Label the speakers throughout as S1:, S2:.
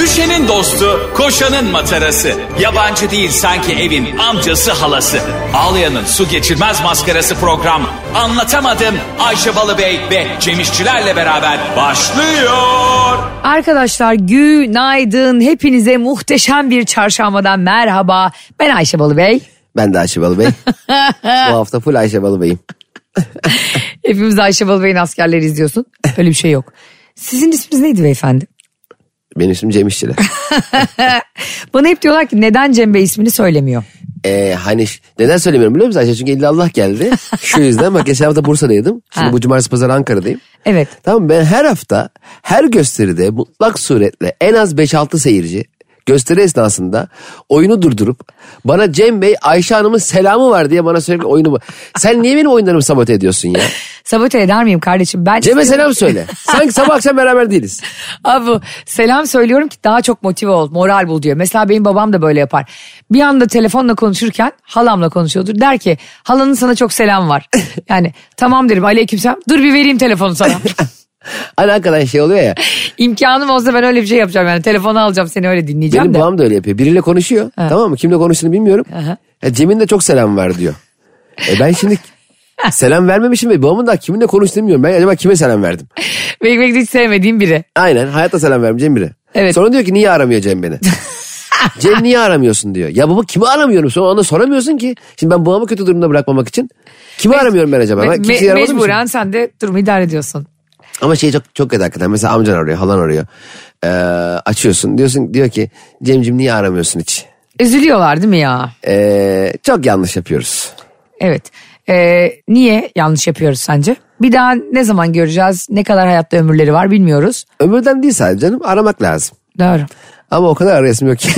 S1: Ayşe'nin dostu, koşanın matarası. Yabancı değil sanki evin amcası halası. Ağlayan'ın su geçirmez maskarası program. Anlatamadım Ayşe Balıbey ve Cemişçilerle beraber başlıyor.
S2: Arkadaşlar günaydın. Hepinize muhteşem bir çarşambadan merhaba. Ben Ayşe Balıbey.
S3: Ben de Ayşe Balıbey. Bu hafta full Ayşe Balıbey'im.
S2: Hepimiz Ayşe Balıbey'in askerleri izliyorsun. Öyle bir şey yok. Sizin isminiz neydi beyefendi?
S3: Benim ismim Cem İşçiler.
S2: Bana hep diyorlar ki neden Cem Bey ismini söylemiyor?
S3: Ee, hani ş- neden söylemiyorum biliyor musun Ayşe? Çünkü elli Allah geldi. Şu yüzden bak geçen hafta Bursa'daydım. Şimdi
S2: Ha.
S3: bu cumartesi pazar Ankara'dayım.
S2: Evet.
S3: Tamam ben her hafta her gösteride mutlak suretle en az 5-6 seyirci gösteri esnasında oyunu durdurup bana Cem Bey Ayşe Hanım'ın selamı var diye bana sürekli oyunu... Sen niye benim oyunlarımı sabote ediyorsun ya?
S2: Sabote eder miyim kardeşim? Ben
S3: Cem'e
S2: isterim-
S3: selam söyle. Sanki sabah akşam beraber değiliz.
S2: Abi selam söylüyorum ki daha çok motive ol, moral bul diyor. Mesela benim babam da böyle yapar. Bir anda telefonla konuşurken halamla konuşuyordur. Der ki halanın sana çok selam var. Yani tamam derim aleykümselam. Dur bir vereyim telefonu sana.
S3: Hani hakikaten şey oluyor ya.
S2: İmkanım olsa ben öyle bir şey yapacağım yani. Telefonu alacağım seni öyle dinleyeceğim
S3: Benim
S2: de.
S3: babam da öyle yapıyor. Biriyle konuşuyor. Tamam mı? Kimle konuştuğunu bilmiyorum.
S2: Aha.
S3: Ya Cem'in de çok selam ver diyor. E ben şimdi selam vermemişim ve babamın da kiminle konuştuğunu bilmiyorum. Ben acaba kime selam verdim?
S2: Benim belki de hiç sevmediğim biri.
S3: Aynen hayatta selam vermeyeceğim biri.
S2: Evet.
S3: Sonra diyor ki niye aramıyor Cem beni? Cem niye aramıyorsun diyor. Ya baba kimi aramıyorum? Sonra ona soramıyorsun ki. Şimdi ben babamı kötü durumda bırakmamak için kimi aramıyorum ben acaba?
S2: Me-
S3: Ben kimseyi
S2: me-
S3: aramadım
S2: mecburen sen de durumu idare ediyorsun.
S3: Ama şey çok çok kötü hakikaten. Mesela amcan arıyor, halan arıyor. Ee, açıyorsun diyorsun diyor ki Cemcim niye aramıyorsun hiç?
S2: Üzülüyorlar değil mi ya?
S3: Ee, çok yanlış yapıyoruz.
S2: Evet. Ee, niye yanlış yapıyoruz sence? Bir daha ne zaman göreceğiz? Ne kadar hayatta ömürleri var bilmiyoruz.
S3: Ömürden değil sadece canım aramak lazım.
S2: Doğru.
S3: Ama o kadar arayasım yok ki.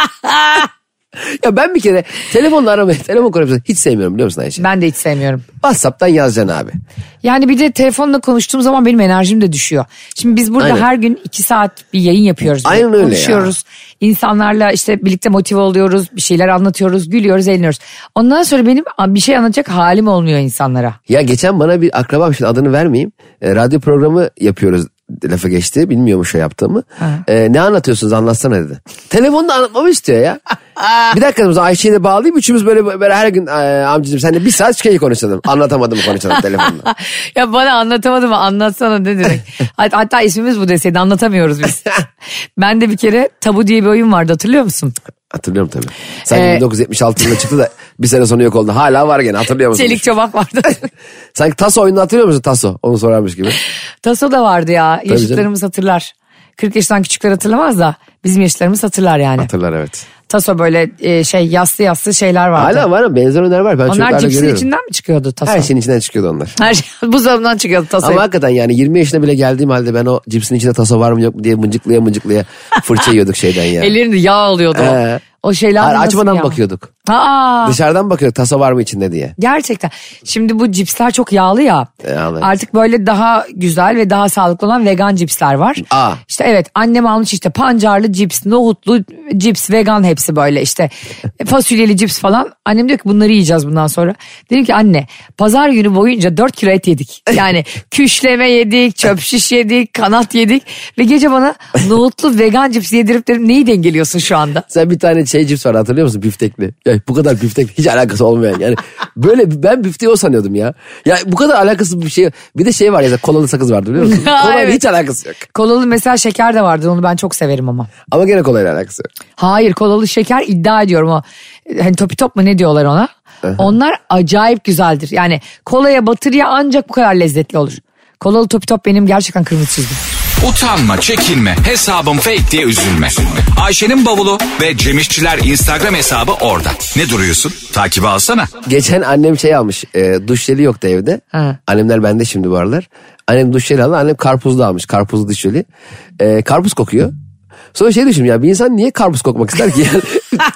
S3: ya ben bir kere telefonla aramayı, telefon konuşmasını hiç sevmiyorum biliyor musun Ayşe?
S2: Ben de hiç sevmiyorum.
S3: WhatsApp'tan yazacaksın abi.
S2: Yani bir de telefonla konuştuğum zaman benim enerjim de düşüyor. Şimdi biz burada
S3: Aynen.
S2: her gün iki saat bir yayın yapıyoruz.
S3: Aynen öyle ya.
S2: Konuşuyoruz. İnsanlarla işte birlikte motive oluyoruz. Bir şeyler anlatıyoruz. Gülüyoruz, eğleniyoruz. Ondan sonra benim bir şey anlatacak halim olmuyor insanlara.
S3: Ya geçen bana bir akrabam şimdi adını vermeyeyim. e, radyo programı yapıyoruz lafa geçti. Bilmiyormuş o yaptığımı. E, ne anlatıyorsunuz anlatsana dedi. Telefonda anlatmamı istiyor ya. bir dakika dedim, Ayşe'yi de bağlayayım. Üçümüz böyle, böyle her gün e, amcacığım sen de bir saat şey konuşalım. Anlatamadım konuşalım telefonda.
S2: ya bana anlatamadım anlatsana ne demek. Hat- Hatta ismimiz bu deseydi anlatamıyoruz biz. ben de bir kere Tabu diye bir oyun vardı hatırlıyor musun?
S3: Hatırlıyorum tabii. Sen
S2: Ee,
S3: 1976 yılında çıktı da bir sene sonra yok oldu. Hala var gene hatırlıyor musun?
S2: Çelik çobak vardı.
S3: Sanki Taso oyununu hatırlıyor musun Taso? Onu sorarmış gibi.
S2: Taso da vardı ya. Yaşıtlarımız hatırlar. 40 yaştan küçükler hatırlamaz da bizim yaşlarımız hatırlar yani.
S3: Hatırlar evet.
S2: Taso böyle e, şey yassı yassı şeyler vardı.
S3: Hala var ama benzer oyunlar var. Ben
S2: Onlar
S3: çocuklarla
S2: cipsin
S3: görüyorum.
S2: içinden mi çıkıyordu Taso?
S3: Her şeyin içinden çıkıyordu onlar.
S2: Her şey buzdolabından çıkıyordu Taso.
S3: Ama hakikaten yani 20 yaşına bile geldiğim halde ben o cipsin içinde taso var mı yok mu diye mıncıklaya mıncıklaya fırça yiyorduk şeyden ya.
S2: Ellerinde yağ oluyordu. o.
S3: Ee,
S2: o şeyler
S3: Hayır,
S2: nasıl
S3: açmadan
S2: yağ?
S3: bakıyorduk.
S2: Aa.
S3: Dışarıdan bakıyorduk taso var mı içinde diye.
S2: Gerçekten. Şimdi bu cipsler çok yağlı ya.
S3: Yağlı, evet.
S2: Artık böyle daha güzel ve daha sağlıklı olan vegan cipsler var.
S3: Aa.
S2: İşte evet annem almış işte pancarlı cips, nohutlu cips, vegan hepsi böyle işte E, fasulyeli cips falan. Annem diyor ki bunları yiyeceğiz bundan sonra. Dedim ki anne pazar günü boyunca 4 kilo et yedik. Yani küşleme yedik, çöp şiş yedik, kanat yedik ve gece bana nohutlu vegan cips yedirip dedim neyi dengeliyorsun şu anda?
S3: Sen bir tane şey cips var hatırlıyor musun biftekli? Ya bu kadar biftek hiç alakası olmayan yani. Böyle ben bifteği o sanıyordum ya. Ya bu kadar alakası bir şey. Bir de şey var ya kolalı sakız vardı biliyor musun?
S2: Ha,
S3: Kolayla
S2: evet.
S3: hiç alakası yok.
S2: Kolalı mesela şeker de vardır onu ben çok severim ama.
S3: Ama gene kolayla alakası yok.
S2: Hayır kolalı şeker iddia ediyorum o. Hani topi top mu ne diyorlar ona? Onlar acayip güzeldir. Yani kolaya batır ya ancak bu kadar lezzetli olur. Kolalı topi top benim gerçekten kırmızı çizgim.
S1: Utanma, çekinme, hesabım fake diye üzülme. Ayşe'nin bavulu ve Cemişçiler Instagram hesabı orada. Ne duruyorsun? Takibi alsana.
S3: Geçen annem şey almış. E, duş jeli yoktu evde.
S2: Ha.
S3: Annemler bende şimdi bu aralar. Annem duş jeli aldı. Annem karpuzlu almış. Karpuzlu duş jeli. E, karpuz kokuyor. Sonra şey düşündüm ya bir insan niye karpuz kokmak ister ki?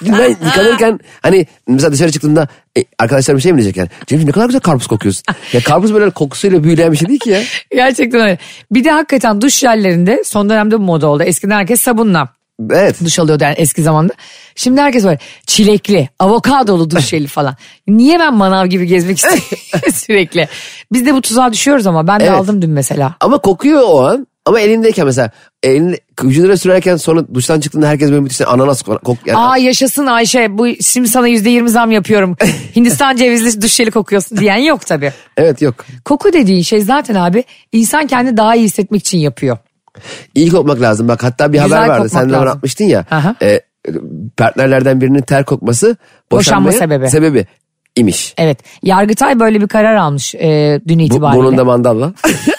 S3: Yani ben yıkanırken hani mesela dışarı çıktığımda e, arkadaşlarım şey mi diyecek yani? Cemciğim ne kadar güzel karpuz kokuyorsun. Ya karpuz böyle kokusuyla büyüleyen bir şey değil ki ya.
S2: Gerçekten öyle. Bir de hakikaten duş jellerinde son dönemde bu moda oldu. Eskiden herkes sabunla
S3: Evet.
S2: duş alıyordu yani eski zamanda. Şimdi herkes böyle çilekli, avokadolu duş jeli falan. Niye ben manav gibi gezmek istiyorum sürekli? Biz de bu tuzağa düşüyoruz ama ben de
S3: Evet.
S2: aldım dün mesela.
S3: Ama kokuyor o an. Ama elindeyken mesela elinde, vücuduna sürerken sonra duştan çıktığında herkes böyle müthiş ananas ko- kok, yani
S2: Aa yaşasın Ayşe bu şimdi sana yüzde yirmi zam yapıyorum. Hindistan cevizli duş jeli kokuyorsun diyen yok tabii.
S3: Evet yok.
S2: Koku dediğin şey zaten abi insan kendi daha iyi hissetmek için yapıyor.
S3: İyi kokmak lazım. Bak hatta bir
S2: Güzel
S3: haber vardı.
S2: kokmak
S3: Sen de
S2: lazım.
S3: onu atmıştın ya.
S2: Aha.
S3: E, partnerlerden birinin ter kokması
S2: Boşanma
S3: boşanmaya
S2: sebebi.
S3: sebebi imiş.
S2: Evet Yargıtay böyle bir karar almış e, dün
S3: Bu,
S2: itibariyle.
S3: burnunda mandalla.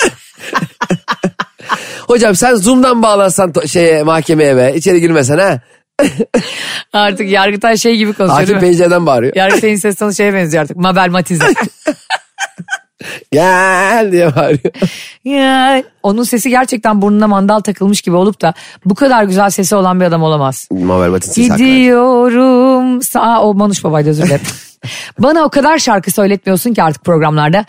S3: Hocam sen Zoom'dan bağlansan to- şeye mahkemeye be. İçeri girmesen ha.
S2: Artık Yargıtay şey gibi konuşuyor
S3: Akif
S2: değil mi?
S3: pencereden bağırıyor.
S2: Yargıtay'ın ses tonu şeye benziyor artık Mabel Matiz'e.
S3: Gel diye bağırıyor.
S2: Ya, Onun sesi gerçekten burnuna mandal takılmış gibi olup da bu kadar güzel sesi olan bir adam olamaz.
S3: Mabel Matin sesi haklı.
S2: Gidiyorum. Sağ o Manuş babaydı özür dilerim. Bana o kadar şarkı söyletmiyorsun ki artık programlarda.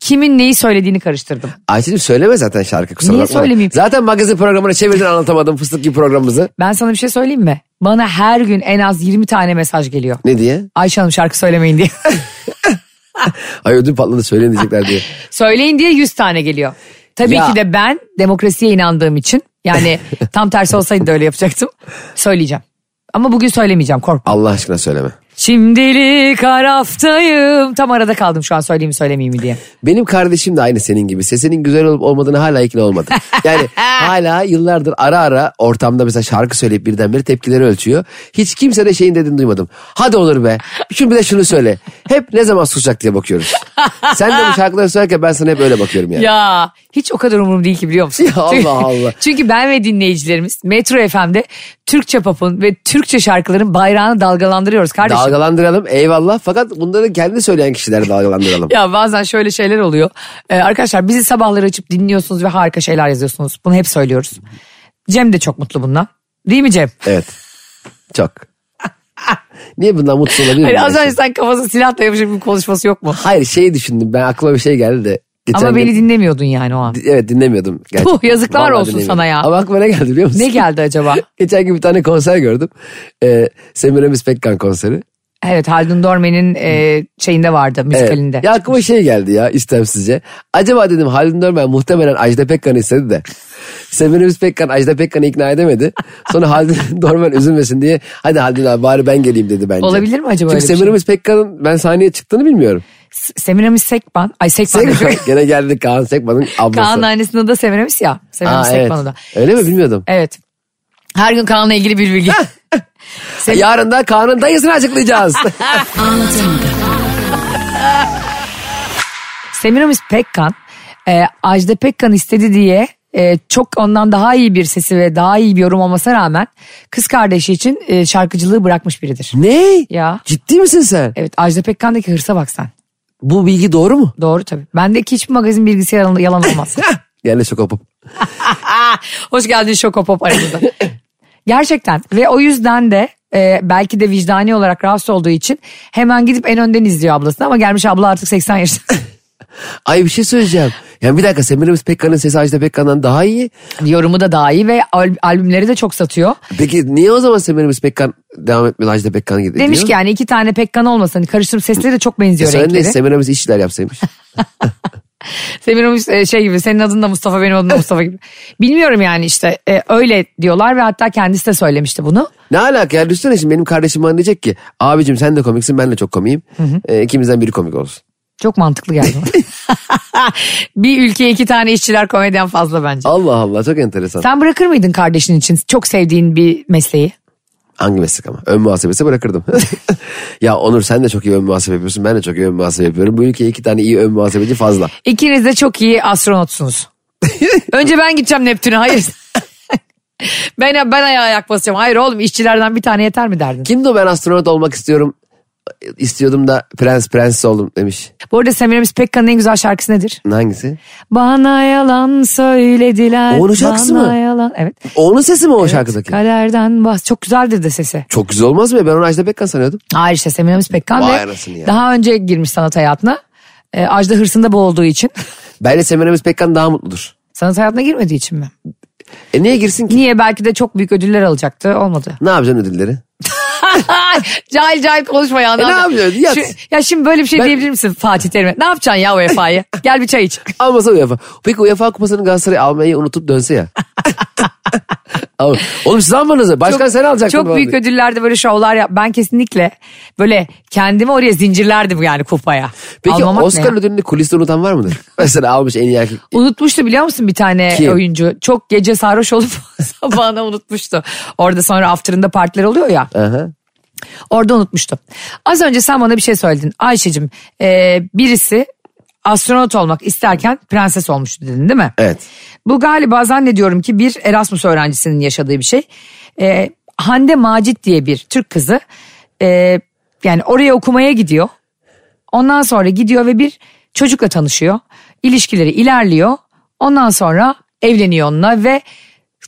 S2: Kimin neyi söylediğini karıştırdım.
S3: Ayşe'cim söyleme zaten şarkı kusura
S2: Niye
S3: bakma da.
S2: söylemeyeyim?
S3: Zaten magazin programına çevirdin anlatamadım fıstık gibi programımızı.
S2: Ben sana bir şey söyleyeyim mi? Bana her gün en az 20 tane mesaj geliyor.
S3: Ne diye?
S2: Ayşe Hanım şarkı söylemeyin diye.
S3: Ay ödüm patladı söyleyin diyecekler diye.
S2: Söyleyin diye 100 tane geliyor. Tabii
S3: Ya.
S2: ki de ben demokrasiye inandığım için yani tam tersi olsaydı da öyle yapacaktım. Söyleyeceğim. Ama bugün söylemeyeceğim korkma.
S3: Allah aşkına söyleme.
S2: Şimdilik haraftayım. Tam arada kaldım şu an söyleyeyim mi söylemeyeyim mi diye.
S3: Benim kardeşim de aynı senin gibi. Sesinin güzel olup olmadığını hala ikna olmadı. Yani hala yıllardır ara ara ortamda mesela şarkı söyleyip birdenbire tepkileri ölçüyor. Hiç kimse de şeyin dediğini duymadım. Hadi olur be. Şimdi bir de şunu söyle. Hep ne zaman susacak diye bakıyoruz. Sen de bu şarkıları söylerken ben sana hep öyle bakıyorum yani.
S2: Ya hiç o kadar umurum değil ki biliyor musun?
S3: Ya Allah
S2: Çünkü-
S3: Allah.
S2: Çünkü ben ve dinleyicilerimiz Metro FM'de Türkçe pop'un ve Türkçe şarkıların bayrağını dalgalandırıyoruz kardeşim.
S3: Dalgalandıralım eyvallah fakat bunları kendi söyleyen kişiler dalgalandıralım.
S2: Ya bazen şöyle şeyler oluyor. Ee, arkadaşlar bizi sabahları açıp dinliyorsunuz ve harika şeyler yazıyorsunuz. Bunu hep söylüyoruz. Cem de çok mutlu bundan. Değil mi Cem?
S3: Evet. Çok. Niye bundan mutsuz olabilir
S2: Hani
S3: miyim?
S2: az önce sen kafasına silah dayamış gibi bir konuşması yok mu?
S3: Hayır şey düşündüm ben aklıma bir şey geldi de. Geçen
S2: Ama beni
S3: gün-
S2: dinlemiyordun yani o an.
S3: Evet dinlemiyordum. gerçekten.
S2: Puh, yazıklar
S3: Vallahi
S2: olsun
S3: dinlemiyordum.
S2: sana ya.
S3: Ama aklıma ne geldi biliyor musun?
S2: Ne geldi acaba?
S3: Geçen gün bir tane konser gördüm. Ee, Semiramis Pekkan konseri.
S2: Evet Haldun Dorme'nin e, şeyinde vardı
S3: Evet.
S2: müzikalinde.
S3: Ya aklıma şey geldi ya istemsizce. Acaba dedim Halil Dönmen muhtemelen Ajda Pekkan'ı istedi de. Semiramis Pekkan Ajda Pekkan'ı ikna edemedi. Sonra Halil Dorman üzülmesin diye hadi Halil abi bari ben geleyim dedi bence.
S2: Olabilir mi acaba öyle
S3: Çünkü
S2: bir şey?
S3: Semiramis Pekkan'ın ben sahneye çıktığını bilmiyorum.
S2: S- Semiramis Sekban. Ay Sekban. ne
S3: Sekman.
S2: diyor?
S3: Gene geldi Kaan Sekman'ın ablası.
S2: Kaan'ın annesinin adı da Semiramis ya. Semiramis
S3: Aa, evet.
S2: Sekban'ı da.
S3: Öyle mi bilmiyordum.
S2: Evet. Her gün Kaan'la ilgili bir bilgi. Sem-
S3: Yarın da Kaan'ın dayısını açıklayacağız.
S2: Semiramis Pekkan e, Ajda Pekkan istedi diye e, çok ondan daha iyi bir sesi ve daha iyi bir yorum olmasına rağmen kız kardeşi için e, şarkıcılığı bırakmış biridir.
S3: ne?
S2: Ya. E-
S3: Ciddi misin sen?
S2: Evet Ajda Pekkan'daki hırsa bak sen.
S3: Bu bilgi doğru mu?
S2: Doğru tabii. Bendeki hiçbir magazin bilgisi yalan, yalan olmaz.
S3: Yani şok hopum.
S2: Ah, Hoş geldin Şokopop aramıza. Gerçekten ve o yüzden de e, belki de vicdani olarak rahatsız olduğu için hemen gidip en önden izliyor ablasını ama gelmiş abla artık 80 yaşında.
S3: Ay bir şey söyleyeceğim. Yani bir dakika Semiramis Pekkan'ın sesi Ajda Pekkan'dan daha iyi.
S2: Yorumu da daha iyi ve al- albümleri de çok satıyor.
S3: Peki niye o zaman Semiramis Pekkan devam etmiyor Ajda Pekkan gidiyor? E,
S2: Demiş ki yani iki tane Pekkan olmasın hani karıştırıp sesleri de çok benziyor
S3: Sen
S2: renkleri.
S3: de Semiramis işler yapsaymış.
S2: Semiramis e, şey gibi senin adın da Mustafa benim adım da Mustafa gibi. Bilmiyorum yani işte e, öyle diyorlar ve hatta kendisi de söylemişti bunu.
S3: ne alaka ya düşünsene şimdi benim kardeşim bana diyecek ki abicim sen de komiksin ben de çok komiyim. Ee, ikimizden biri komik olsun.
S2: Çok mantıklı geldi. bana. bir ülkeye iki tane işçiler komedyen fazla bence.
S3: Allah Allah çok enteresan.
S2: Sen bırakır mıydın kardeşin için çok sevdiğin bir mesleği?
S3: Hangi meslek ama? Ön muhasebesi bırakırdım. ya Onur sen de çok iyi ön muhasebe yapıyorsun. Ben de çok iyi ön muhasebe yapıyorum. Bu ülkeye iki tane iyi ön muhasebeci fazla.
S2: İkiniz de çok iyi astronotsunuz. Önce ben gideceğim Neptün'e hayır. ben ben ayağa ayak basacağım. Hayır oğlum işçilerden bir tane yeter mi derdin?
S3: Kimdi o ben astronot olmak istiyorum istiyordum da prens prenses oldum demiş.
S2: Bu arada Semiramis Pekkan'ın en güzel şarkısı nedir?
S3: Hangisi?
S2: Bana yalan söylediler.
S3: Onun şarkısı
S2: bana
S3: mı?
S2: yalan. Evet.
S3: Onun sesi mi o şarkıdaki?
S2: Kaderden bas. Çok güzeldir de sesi.
S3: Çok güzel olmaz mı ya? Ben onu Ajda Pekkan sanıyordum.
S2: Hayır işte Semiramis Pekkan
S3: Vay
S2: ve
S3: anasını ya.
S2: daha önce girmiş sanat hayatına. Ee, Ajda hırsında boğulduğu için.
S3: Bence Semiramis Pekkan daha mutludur.
S2: sanat hayatına girmediği için mi?
S3: E niye girsin ki?
S2: Niye belki de çok büyük ödüller alacaktı olmadı.
S3: Ne yapacaksın ödülleri?
S2: cahil cahil konuşma ya.
S3: E, ne yapacağız? Yat.
S2: Şu- ya şimdi böyle bir şey
S3: Ben-
S2: diyebilir misin Fatih Terim'e? Ne yapacaksın ya UEFA'yı? Gel bir çay iç.
S3: Almasa UEFA. Peki UEFA kupasını Galatasaray almayı unutup dönse ya. Ama- Oğlum siz almanızı. Başkan sen alacaksın.
S2: Çok
S3: bu
S2: büyük
S3: arada.
S2: ödüllerde böyle şovlar yap. Ben kesinlikle böyle kendimi oraya zincirlerdim yani kupaya.
S3: Peki
S2: Almamak ne
S3: Oscar
S2: ya?
S3: ödülünü kuliste unutan var mıdır? Mesela almış en iyi erkek.
S2: Unutmuştu biliyor musun bir tane
S3: Kim?
S2: oyuncu. Çok gece sarhoş olup sabahına unutmuştu. Orada sonra after'ında partiler oluyor ya.
S3: Aha.
S2: Orada unutmuştum. Az önce sen bana bir şey söyledin. Ayşe'cim e, birisi astronot olmak isterken prenses olmuştu dedin değil mi?
S3: Evet.
S2: Bu galiba zannediyorum ki bir Erasmus öğrencisinin yaşadığı bir şey. E, Hande Macit diye bir Türk kızı e, yani oraya okumaya gidiyor. Ondan sonra gidiyor ve bir çocukla tanışıyor. İlişkileri ilerliyor. Ondan sonra evleniyor onunla ve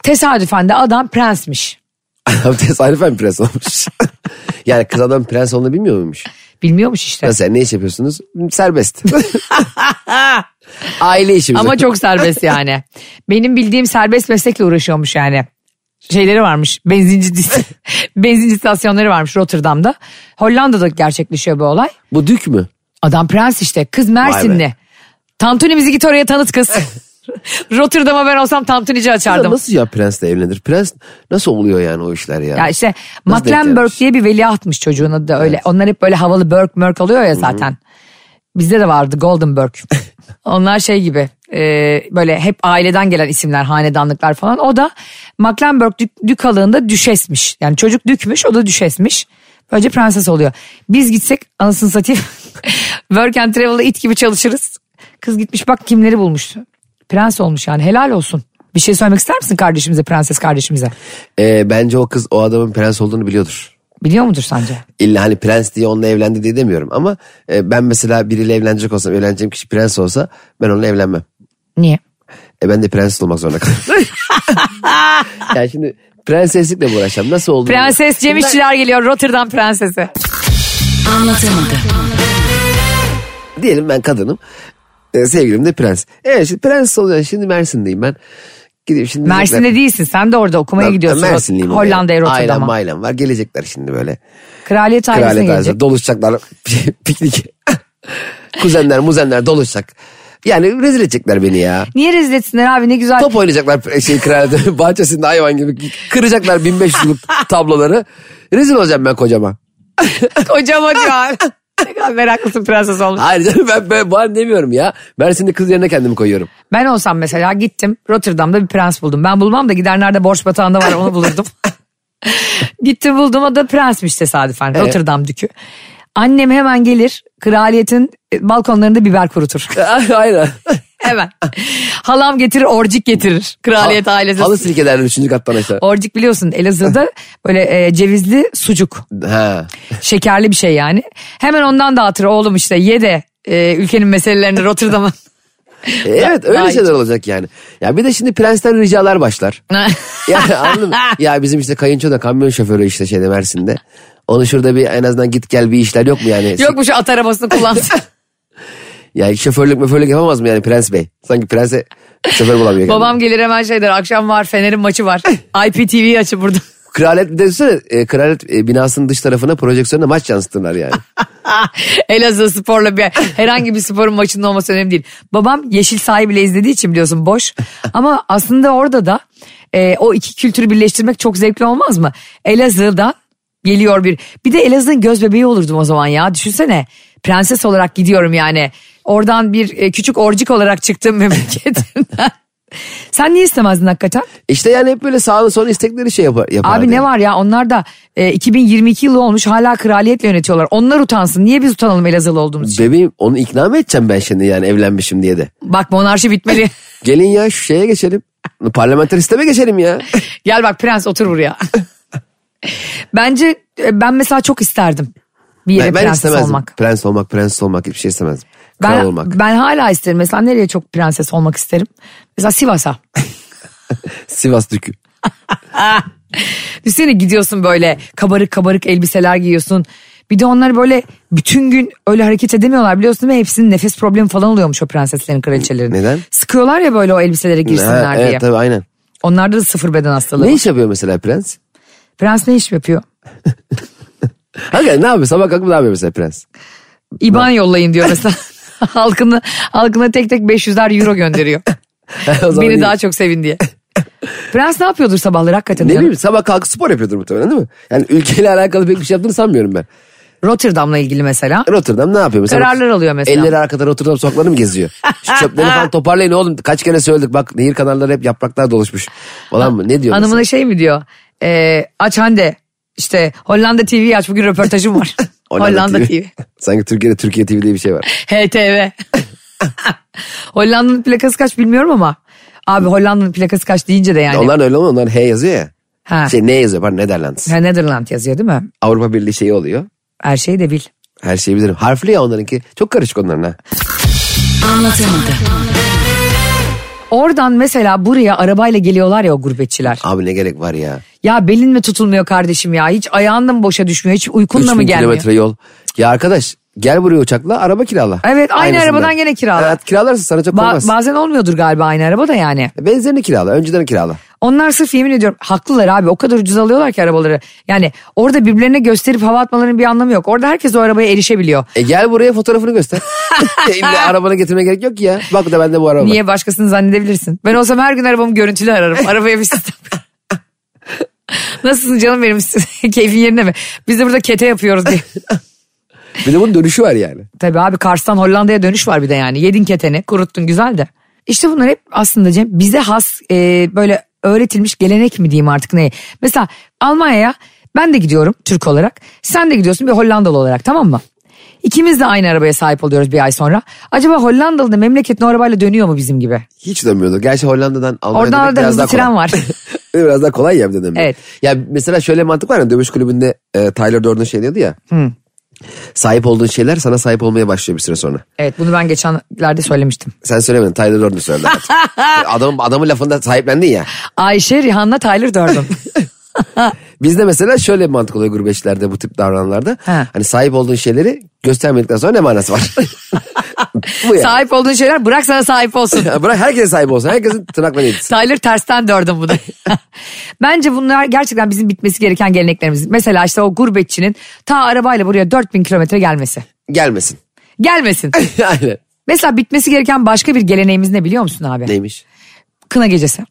S2: tesadüfen de adam prensmiş.
S3: Adam tesadüfen prens olmuş. yani kız adam prens olduğunu bilmiyor muymuş?
S2: Bilmiyormuş işte.
S3: Mesela ne iş yapıyorsunuz? Serbest. Aile işimiz.
S2: Ama çok serbest yani. Benim bildiğim serbest meslekle uğraşıyormuş yani. Şeyleri varmış. Benzinci benzinci istasyonları varmış Rotterdam'da. Hollanda'da gerçekleşiyor bu olay.
S3: Bu dük mü?
S2: Adam prens işte. Kız Mersinli. Tantunimizi git oraya tanıt kız. Rotterdam'a ben olsam tantunici
S3: Ya
S2: açardım.
S3: nasıl ya prensle evlenir? Prens nasıl oluyor yani o işler ya?
S2: Ya işte
S3: Nasıl denk
S2: Mecklenburg
S3: gelmiş?
S2: diye bir veliahtmış çocuğun adı da öyle. Onlar hep böyle havalı Burke Mörk alıyor ya zaten. Bizde de vardı Golden Burke. Onlar şey gibi e, böyle hep aileden gelen isimler hanedanlıklar falan. O da Mecklenburg dük- dükalığında düşesmiş. Yani çocuk dükmüş o da düşesmiş. Böylece prenses oluyor. Biz gitsek anasını satayım. Work and travel'da it gibi çalışırız. Kız gitmiş bak kimleri bulmuş. Prens olmuş yani helal olsun. Bir şey söylemek ister misin kardeşimize prenses kardeşimize?
S3: Ee, bence o kız o adamın prens olduğunu biliyordur.
S2: Biliyor mudur sence?
S3: İlla hani prens diye onunla evlendi diye demiyorum ama e, ben mesela biriyle evlenecek olsam evleneceğim kişi prens olsa ben onunla evlenmem.
S2: Niye?
S3: E ben de prens olmak zorunda kalırım. yani şimdi prenseslikle mi uğraşacağım? Nasıl oldu?
S2: Prenses Cem İşçiler geliyor Rotterdam prensesi.
S3: Diyelim ben kadınım. E, sevgilim de prens. Evet şimdi prens olacağım. Şimdi Mersin'deyim ben. Gideyim şimdi.
S2: Mersin'de değilsin sen de orada okumaya
S3: Ben-
S2: gidiyorsun.
S3: ben Mersinliyim.
S2: Hollanda'ya
S3: Ailem
S2: Rotterdam'a.
S3: ailem var. Gelecekler şimdi böyle.
S2: Kraliyet ailesine
S3: Kraliyet
S2: gelecek.
S3: ailesi. Doluşacaklar. Şey, Piknik. Kuzenler muzenler doluşacak. Yani rezil edecekler beni ya.
S2: Niye rezil etsinler abi ne güzel.
S3: Top oynayacaklar şey kraliyet bahçesinde hayvan gibi. Kıracaklar 1500'lük tabloları. Rezil olacağım ben kocama.
S2: Kocaman ya. ne kadar meraklısın prenses olmuş.
S3: Hayır canım ben, ben bana demiyorum ya. Mersin'de kız yerine kendimi koyuyorum.
S2: Ben olsam mesela gittim Rotterdam'da bir prens buldum. Ben bulmam da gidenlerde borç batağında var onu bulurdum. gittim buldum o da prensmiş tesadüfen Rotterdam dükü. Annem hemen gelir kraliyetin e, balkonlarında biber kurutur.
S3: Aynen.
S2: Hemen. Halam getirir, orcik getirir. Kraliyet ailesi.
S3: Halı silkelerden 3. kattan aşağı.
S2: Orcik biliyorsun Elazığ'da böyle e, cevizli sucuk.
S3: Ha.
S2: Şekerli bir şey yani. Hemen ondan dağıtır oğlum işte ye de e, ülkenin meselelerini Rotterdam'a.
S3: E, Evet öyle
S2: Daha
S3: şeyler olacak yani. Ya bir de şimdi prensten ricalar başlar. Yani anladın mı? Ya bizim işte kayınço da kamyon şoförü işte şeyde Mersin'de. Onu şurada bir en azından git gel bir işler yok mu yani?
S2: Yok mu şu at arabasını kullansın.
S3: Yani şoförlük möförlük yapamaz mı yani Prens Bey? Sanki prense şoför bulamıyor. kendini.
S2: Babam gelir hemen şey der akşam var Fener'in maçı var. IPTV açı burada.
S3: Kraliyet bir de düşünsene, e, kraliyet e, binasının dış tarafına projeksiyonla maç yansıtırlar yani.
S2: Elazığ sporla bir herhangi bir sporun maçının olması önemli değil. Babam yeşil sahayı bile izlediği için biliyorsun boş. Ama aslında orada da e, o iki kültürü birleştirmek çok zevkli olmaz mı? Elazığ'da geliyor bir. Bir de Elazığ'ın göz bebeği olurdum o zaman ya. Düşünsene prenses olarak gidiyorum yani. Oradan bir e, küçük orcik olarak çıktım memleketimden. Sen niye istemezdin hakikaten?
S3: İşte yani hep böyle sağlı son istekleri şey yapar. yapar
S2: Abi ne var ya onlar da e, 2022 yılı olmuş hala kraliyetle yönetiyorlar. Onlar utansın. Niye biz utanalım Elazığlı olduğumuz için?
S3: Bebeğim onu ikna mı edeceğim ben şimdi yani evlenmişim diye de.
S2: Bak monarşi bitmeli.
S3: Gelin ya şu şeye geçelim. Parlamenter isteme geçelim ya.
S2: Gel bak prens otur buraya. Bence e, ben mesela çok isterdim bir yere
S3: Ben, ben
S2: prenses
S3: istemezdim.
S2: olmak.
S3: Prens olmak, prens olmak hiçbir şey istemezdim. Kral
S2: Ben,
S3: olmak.
S2: ben hala isterim. Mesela nereye çok prenses olmak isterim? Mesela Sivas'a.
S3: Sivas Dükü.
S2: Düşünsene gidiyorsun böyle kabarık kabarık elbiseler giyiyorsun. Bir de onlar böyle bütün gün öyle hareket edemiyorlar biliyorsun değil mi? Hepsinin nefes problemi falan oluyormuş o prenseslerin kraliçelerin.
S3: Neden?
S2: Sıkıyorlar ya böyle o elbiselere girsinler
S3: Ha,
S2: diye.
S3: evet tabii aynen.
S2: Onlarda da sıfır beden hastalığı.
S3: Ne
S2: var.
S3: iş yapıyor mesela prens?
S2: Prens ne iş yapıyor?
S3: Hakikaten ne yapıyor? Sabah kalkıp ne yapıyor mesela prens?
S2: İban yollayın diyor mesela. halkını, halkına tek tek 500'ler euro gönderiyor.
S3: O zaman
S2: Beni
S3: iyi.
S2: daha çok sevin diye. Prens ne yapıyordur sabahları hakikaten?
S3: Ne
S2: canım?
S3: bileyim sabah kalkıp spor yapıyordur muhtemelen değil mi? Yani ülkeyle alakalı pek bir şey yaptığını sanmıyorum ben.
S2: Rotterdam'la ilgili mesela.
S3: Rotterdam ne yapıyor mesela?
S2: Kararlar alıyor mesela.
S3: Elleri arkada Rotterdam sokaklarını mı geziyor? Şu çöpleri falan toparlayın oğlum. Kaç kere söyledik bak nehir kanalları hep yapraklar doluşmuş. Falan mı? Ne diyor? mesela?
S2: Hanımına şey mi diyor? Ee, aç Hande. İşte Hollanda TV'yi aç bugün röportajım var. Hollanda TV.
S3: Sanki Türkiye'de Türkiye TV diye bir şey var.
S2: HTV. Hollanda'nın plakası kaç bilmiyorum ama. Abi Hollanda'nın plakası kaç deyince de yani.
S3: Onlar da öyle olmuyor. Onlar H yazıyor ya.
S2: Ha.
S3: Şey ne yazıyor? Pardon Netherlands.
S2: Ha, Netherland yazıyor değil mi?
S3: Avrupa Birliği şeyi oluyor.
S2: Her şeyi de bil.
S3: Her şeyi bilirim. Harfli ya onlarınki. Çok karışık onların ha.
S2: Oradan mesela buraya arabayla geliyorlar ya o gurbetçiler.
S3: Abi ne gerek var ya.
S2: Ya belin mi tutulmuyor kardeşim ya? Hiç ayağın mı boşa düşmüyor? Hiç uykunla mı
S3: 3000
S2: gelmiyor?
S3: kilometre yol. Ya arkadaş gel buraya uçakla araba kirala.
S2: Evet, aynı
S3: Aynısından.
S2: arabadan gene kirala.
S3: Evet kiralarsın sana çok
S2: Ba-
S3: olmaz.
S2: bazen olmuyordur galiba aynı araba da yani.
S3: Benzerini kirala. Önceden kirala.
S2: Onlar sırf yemin ediyorum haklılar abi o kadar ucuz alıyorlar ki arabaları. Yani orada birbirlerine gösterip hava atmalarının bir anlamı yok. Orada herkes o arabaya erişebiliyor.
S3: E gel buraya fotoğrafını göster. İlla arabanı getirmeye gerek yok ki ya. Bak da bende bu araba.
S2: Niye başkasını zannedebilirsin? Ben olsam her gün arabamı görüntülü ararım. Arabaya bir sistem. Nasılsın canım benim keyfin yerinde mi? Biz de burada kete yapıyoruz diye.
S3: Bir de bunun dönüşü var yani.
S2: Tabii abi Kars'tan Hollanda'ya dönüş var bir de yani. Yedin keteni, kuruttun güzel de. İşte bunlar hep aslında Cem bize has e, böyle öğretilmiş gelenek mi diyeyim artık neye. Mesela Almanya'ya ben de gidiyorum Türk olarak. Sen de gidiyorsun bir Hollandalı olarak tamam mı? İkimiz de aynı arabaya sahip oluyoruz bir ay sonra. Acaba Hollandalı da memleketine o arabayla dönüyor mu bizim gibi?
S3: Hiç dönmüyordu. Gerçi Hollanda'dan Almanya'ya
S2: Oradan
S3: dönmek
S2: orada
S3: biraz
S2: hızlı
S3: daha kolay.
S2: tren var.
S3: Ee, biraz daha kolay ya bir de dönmek.
S2: Evet.
S3: Ya mesela şöyle mantık var ya dövüş kulübünde e, Tyler Durden şey diyordu ya. Sahip olduğun şeyler sana sahip olmaya başlıyor bir süre sonra.
S2: evet bunu ben geçenlerde söylemiştim.
S3: Sen söylemedin Tyler Durden söyledi. Adam, adamın lafında sahiplendin ya.
S2: Ayşe Rihanna Tyler Durden.
S3: Bizde mesela şöyle bir mantık oluyor gurbetçilerde bu tip davrananlarda.
S2: Ha.
S3: Hani sahip olduğun şeyleri göstermedikten sonra ne manası var? bu ya.
S2: sahip olduğun şeyler bırak sana sahip olsun.
S3: Ya Bırak herkese sahip olsun. Herkesin tırnaklarını yetişsin.
S2: Tyler tersten dördüm bunu. Bence bunlar gerçekten bizim bitmesi gereken geleneklerimiz. Mesela işte o gurbetçinin ta arabayla buraya 4000 kilometre gelmesi.
S3: Gelmesin.
S2: Gelmesin.
S3: Aynen.
S2: Mesela bitmesi gereken başka bir geleneğimiz ne biliyor musun abi?
S3: Neymiş?
S2: Kına gecesi.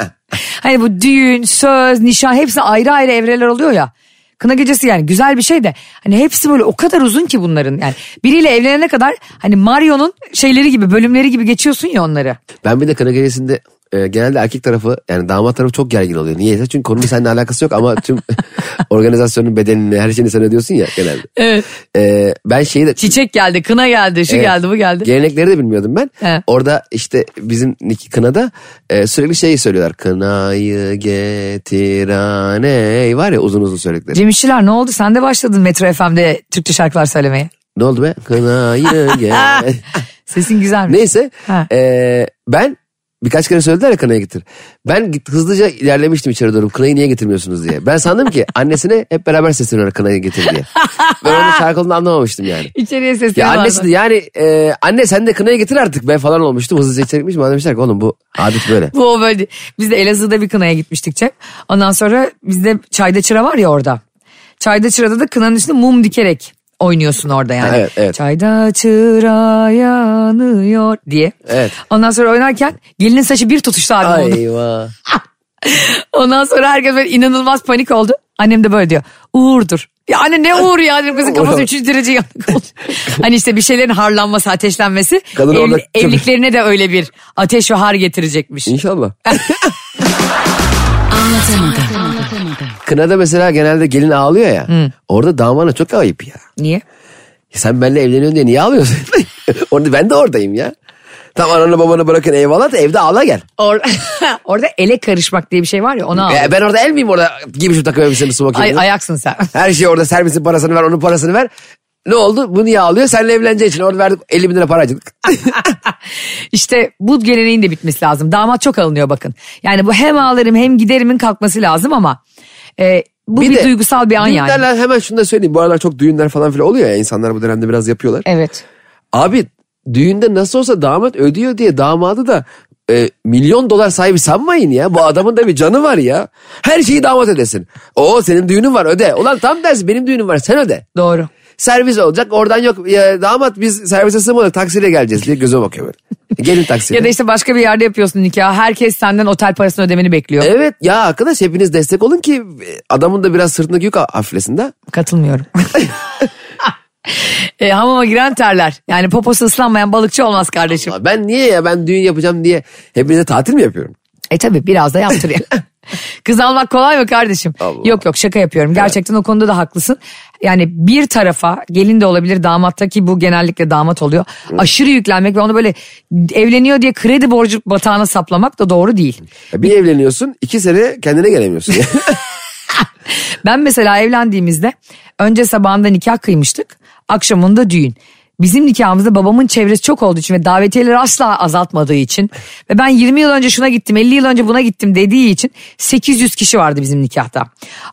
S2: hani bu düğün, söz, nişan hepsi ayrı ayrı evreler oluyor ya. Kına gecesi yani güzel bir şey de hani hepsi böyle o kadar uzun ki bunların yani biriyle evlenene kadar hani Mario'nun şeyleri gibi bölümleri gibi geçiyorsun ya onları.
S3: Ben bir de kına gecesinde e, genelde erkek tarafı yani damat tarafı çok gergin oluyor. Niyeyse çünkü konunun seninle alakası yok ama tüm organizasyonun bedenini her şeyini sen ödüyorsun ya genelde.
S2: Evet.
S3: E, ben şeyi de...
S2: Çiçek geldi, kına geldi, şu
S3: Evet.
S2: geldi, bu geldi.
S3: Gelenekleri de bilmiyordum ben.
S2: He.
S3: Orada işte bizim Niki Kına'da e, sürekli şeyi söylüyorlar. Kınayı getiren ey var ya uzun uzun söyledikleri.
S2: Cem İşçiler ne oldu? Sen de başladın Metro FM'de Türkçe şarkılar söylemeye.
S3: Ne oldu be? Kınayı getiren.
S2: Sesin güzel mi?
S3: Neyse
S2: Ha.
S3: e, ben birkaç kere söylediler ya kınaya getir. Ben git, hızlıca ilerlemiştim içeri doğru kınayı niye getirmiyorsunuz diye. Ben sandım ki annesine hep beraber sesleniyorlar kınayı getir diye. Ben onun şarkılığını anlamamıştım yani.
S2: İçeriye sesini
S3: Ya
S2: ya
S3: annesi de yani e, anne sen de kınayı getir artık be falan olmuştum. Hızlıca içeri gitmiştim. Bana demişler ki oğlum bu adet böyle.
S2: Bu o böyle. Biz de Elazığ'da bir kınaya gitmiştik Cem. Ondan sonra bizde çayda çıra var ya orada. Çayda çırada da kınanın üstünde mum dikerek oynuyorsun orada yani.
S3: Ha, evet, evet.
S2: Çayda çıra yanıyor diye.
S3: Evet.
S2: Ondan sonra oynarken gelinin saçı bir tutuştu abi mumun.
S3: Ayva.
S2: Ondan sonra herkes böyle inanılmaz panik oldu. Annem de böyle diyor. Uğur'dur. Ya anne ne uğur ya dedim kızın kafası
S3: Uğur.
S2: 3. derece yanık oldu. hani işte bir şeylerin harlanması, ateşlenmesi
S3: Kadın
S2: evli-
S3: orada-
S2: evliliklerine de öyle bir ateş ve har getirecekmiş.
S3: İnşallah. Kınada mesela genelde gelin ağlıyor ya. Orada damana çok ayıp ya.
S2: Niye?
S3: Sen benimle evleniyorsun diye niye ağlıyorsun? Orada ben de oradayım ya. Tam ananı babanı bırakın eyvallah da evde ağla gel.
S2: Or- Orada ele karışmak diye bir şey var ya ona al.
S3: E, ben orada el miyim orada? Gibi şu takım elbisemi smoking.
S2: Ay, ayaksın sen.
S3: Her şey orada servisin parasını ver onun parasını ver. Ne oldu? Bu niye ağlıyor? Seninle evleneceği için orada verdik 50 bin lira para harcadık.
S2: Ah, İşte bu geleneğin de bitmesi lazım. Damat çok alınıyor bakın. Yani bu hem ağlarım hem giderimin kalkması lazım ama e, bu bir,
S3: de
S2: duygusal bir an yani.
S3: düğünlerle hemen şunu da söyleyeyim. Bu aralar çok düğünler falan filan oluyor ya. insanlar bu dönemde biraz yapıyorlar.
S2: Evet.
S3: Abi düğünde nasıl olsa damat ödüyor diye damadı da e, milyon dolar sahibi sanmayın ya. Bu adamın da bir canı var ya. Her şeyi damat ödesin. Oo senin düğünün var öde. Ulan tam tersi benim düğünüm var sen öde.
S2: Doğru.
S3: Servis olacak oradan yok ya, damat biz servise sığmadık taksiyle geleceğiz diye gözüme bakıyor böyle. Gelin taksiyle.
S2: Ya da işte başka bir yerde yapıyorsun nikahı. Herkes senden otel parasını ödemeni bekliyor.
S3: Evet ya arkadaş hepiniz destek olun ki e, adamın da biraz sırtındaki yük hafiflesin de.
S2: Katılmıyorum. E, hamama giren terler. Yani poposu ıslanmayan balıkçı olmaz kardeşim.
S3: Ya Ben niye ya ben düğün yapacağım diye hepinize tatil mi yapıyorum?
S2: E tabii biraz da yaptır ya. Kız almak kolay mı kardeşim?
S3: Allah.
S2: Yok yok şaka yapıyorum. Gerçekten o konuda da haklısın. Yani bir tarafa gelin de olabilir damatta ki bu genellikle damat oluyor. Aşırı yüklenmek ve onu böyle evleniyor diye kredi borcu batağına saplamak da doğru değil.
S3: Ya Bir evleniyorsun iki sene kendine gelemiyorsun.
S2: Ben mesela evlendiğimizde önce sabahında nikah kıymıştık. Akşamında düğün. Bizim nikahımızda babamın çevresi çok olduğu için ve davetiyeleri asla azaltmadığı için ve ben 20 yıl önce şuna gittim 50 yıl önce buna gittim dediği için 800 kişi vardı bizim nikahta.